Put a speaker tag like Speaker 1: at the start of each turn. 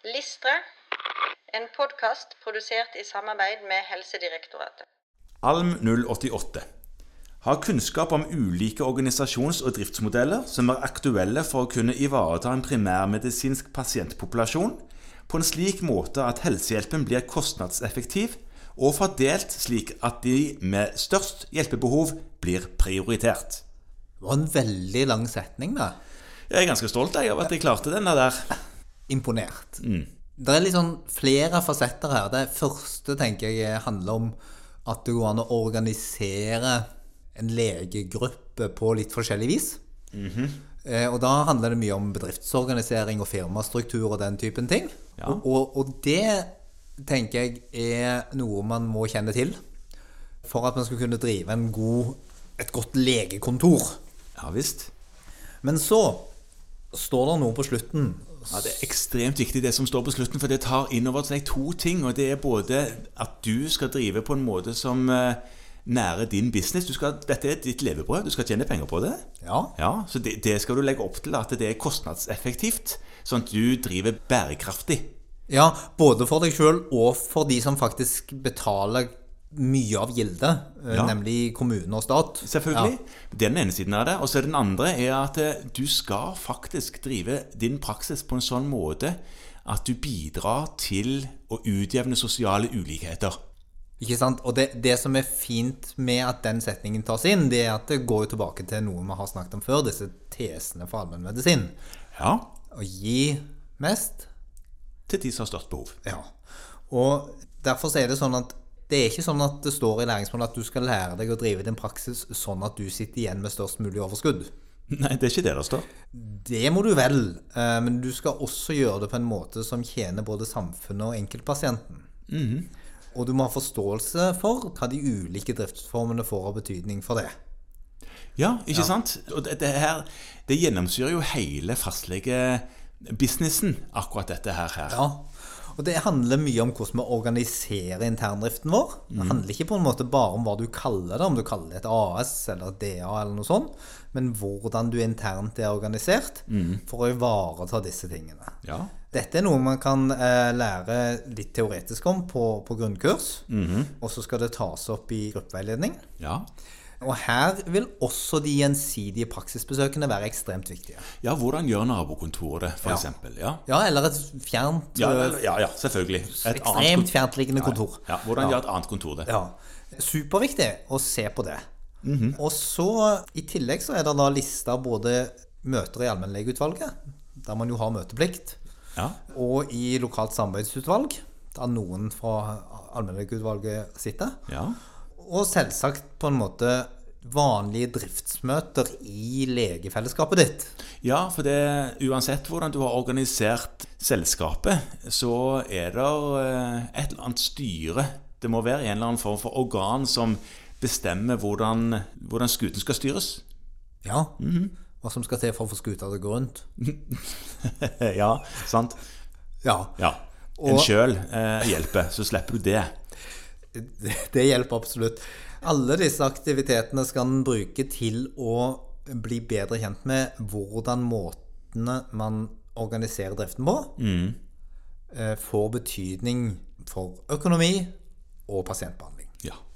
Speaker 1: Listre, en podkast produsert i samarbeid med Helsedirektoratet.
Speaker 2: Alm 088 har kunnskap om ulike organisasjons- og driftsmodeller som er aktuelle for å kunne ivareta en primærmedisinsk pasientpopulasjon på en slik måte at helsehjelpen blir kostnadseffektiv og fordelt slik at de med størst hjelpebehov blir prioritert.
Speaker 3: Det var en veldig lang setning, da.
Speaker 2: Jeg er ganske stolt jeg, av at jeg klarte denne der.
Speaker 3: Imponert. Det er litt sånn flere fasetter her. Det første tenker jeg handler om at det går an å organisere en legegruppe på litt forskjellig vis. Eh, Og da handler det mye om bedriftsorganisering og firmastruktur og den typen ting. Og, og, og det tenker jeg er noe man må kjenne til for at man skal kunne drive en god, et godt legekontor.
Speaker 2: Ja visst.
Speaker 3: Men så står det noe på slutten.
Speaker 2: Ja, det er ekstremt viktig det som står på slutten, for det tar inn over seg to ting. Og det er både at du skal drive på en måte som eh, nærer din business. Du skal, dette er ditt levebrød, du skal tjene penger på det.
Speaker 3: Ja.
Speaker 2: Ja, Så det, det skal du legge opp til at det er kostnadseffektivt, sånn at du driver bærekraftig.
Speaker 3: ja, både for deg sjøl og for de som faktisk betaler mye av gildet, eh,
Speaker 2: Ja.
Speaker 3: nemlig kommune og stat.
Speaker 2: Selvfølgelig. Det er den ene siden av det. Og så er den andre er at eh, du skal faktisk drive din praksis på en sånn måte at du bidrar til å utjevne sosiale ulikheter.
Speaker 3: Ikke sant? Og det, det som er fint med at den setningen tas inn, det er at det går jo tilbake til noe vi har snakket om før, disse tesene for allmennmedisin.
Speaker 2: Ja,
Speaker 3: Å gi mest
Speaker 2: til de som har størst behov.
Speaker 3: Ja. Og derfor så er det sånn at det er ikke sånn at det står i læringsmålet at du skal lære deg å drive din praksis sånn at du sitter igjen med størst mulig overskudd.
Speaker 2: Nei, det er ikke det det står.
Speaker 3: Det må du vel, eh, men du skal også gjøre det på en måte som tjener både samfunnet og enkeltpasienten. Og du må ha forståelse for hva de ulike driftsformene får av betydning for det.
Speaker 2: Ja, ikke sant? Og det, det her det gjennomsyrer jo hele fastlegebusinessen, akkurat dette her. her.
Speaker 3: Ja. Og det handler mye om hvordan vi organiserer interndriften vår. Det handler ikke på en måte bare om hva du kaller det, om du kaller det et AS eller et DA eller noe sånt, men hvordan du internt er organisert for å ivareta disse tingene.
Speaker 2: Ja.
Speaker 3: Dette er noe man kan eh, lære litt teoretisk om på, på grunnkurs,
Speaker 2: Mhm.
Speaker 3: og så skal det tas opp i gruppeveiledning.
Speaker 2: Ja.
Speaker 3: Og her vil også de gjensidige praksisbesøkene være ekstremt viktige.
Speaker 2: ja, hvordan gjør nabokontoret det, for
Speaker 3: Ja.
Speaker 2: eksempel? Ja.
Speaker 3: Ja, eller et fjernt,
Speaker 2: Ja,
Speaker 3: eh,
Speaker 2: vel, ja, ja, selvfølgelig. Et annet
Speaker 3: ekstremt
Speaker 2: kontor-
Speaker 3: fjerntliggende kontor.
Speaker 2: Ja, hvordan gjør et annet kontor det?
Speaker 3: Ja. Superviktig å se på det.
Speaker 2: Mhm.
Speaker 3: Og så I tillegg så er det da lista både møter i allmennlegeutvalget, der man jo har møteplikt,
Speaker 2: Ja.
Speaker 3: og i lokalt samarbeidsutvalg, der noen fra allmennlegeutvalget sitter.
Speaker 2: ja.
Speaker 3: Og selvsagt på en måte vanlige driftsmøter i legefellesskapet ditt.
Speaker 2: Ja, for det, uansett hvordan du har organisert selskapet, så er det eh, et eller annet styre. Det må være en eller annen form for organ som bestemmer hvordan, hvordan skuten skal styres.
Speaker 3: Ja. Hva som skal til for å få skuta til å gå rundt.
Speaker 2: Eh, ja, sant?
Speaker 3: Ja.
Speaker 2: Ja. En
Speaker 3: Og-
Speaker 2: sjøl eh, hjelper, så slipper du det.
Speaker 3: Det, det hjelper absolutt. Alle disse aktivitetene skal en bruke til å bli bedre kjent med hvordan måtene man organiserer driften på, eh, får betydning for økonomi og pasientbehandling.
Speaker 2: Ja.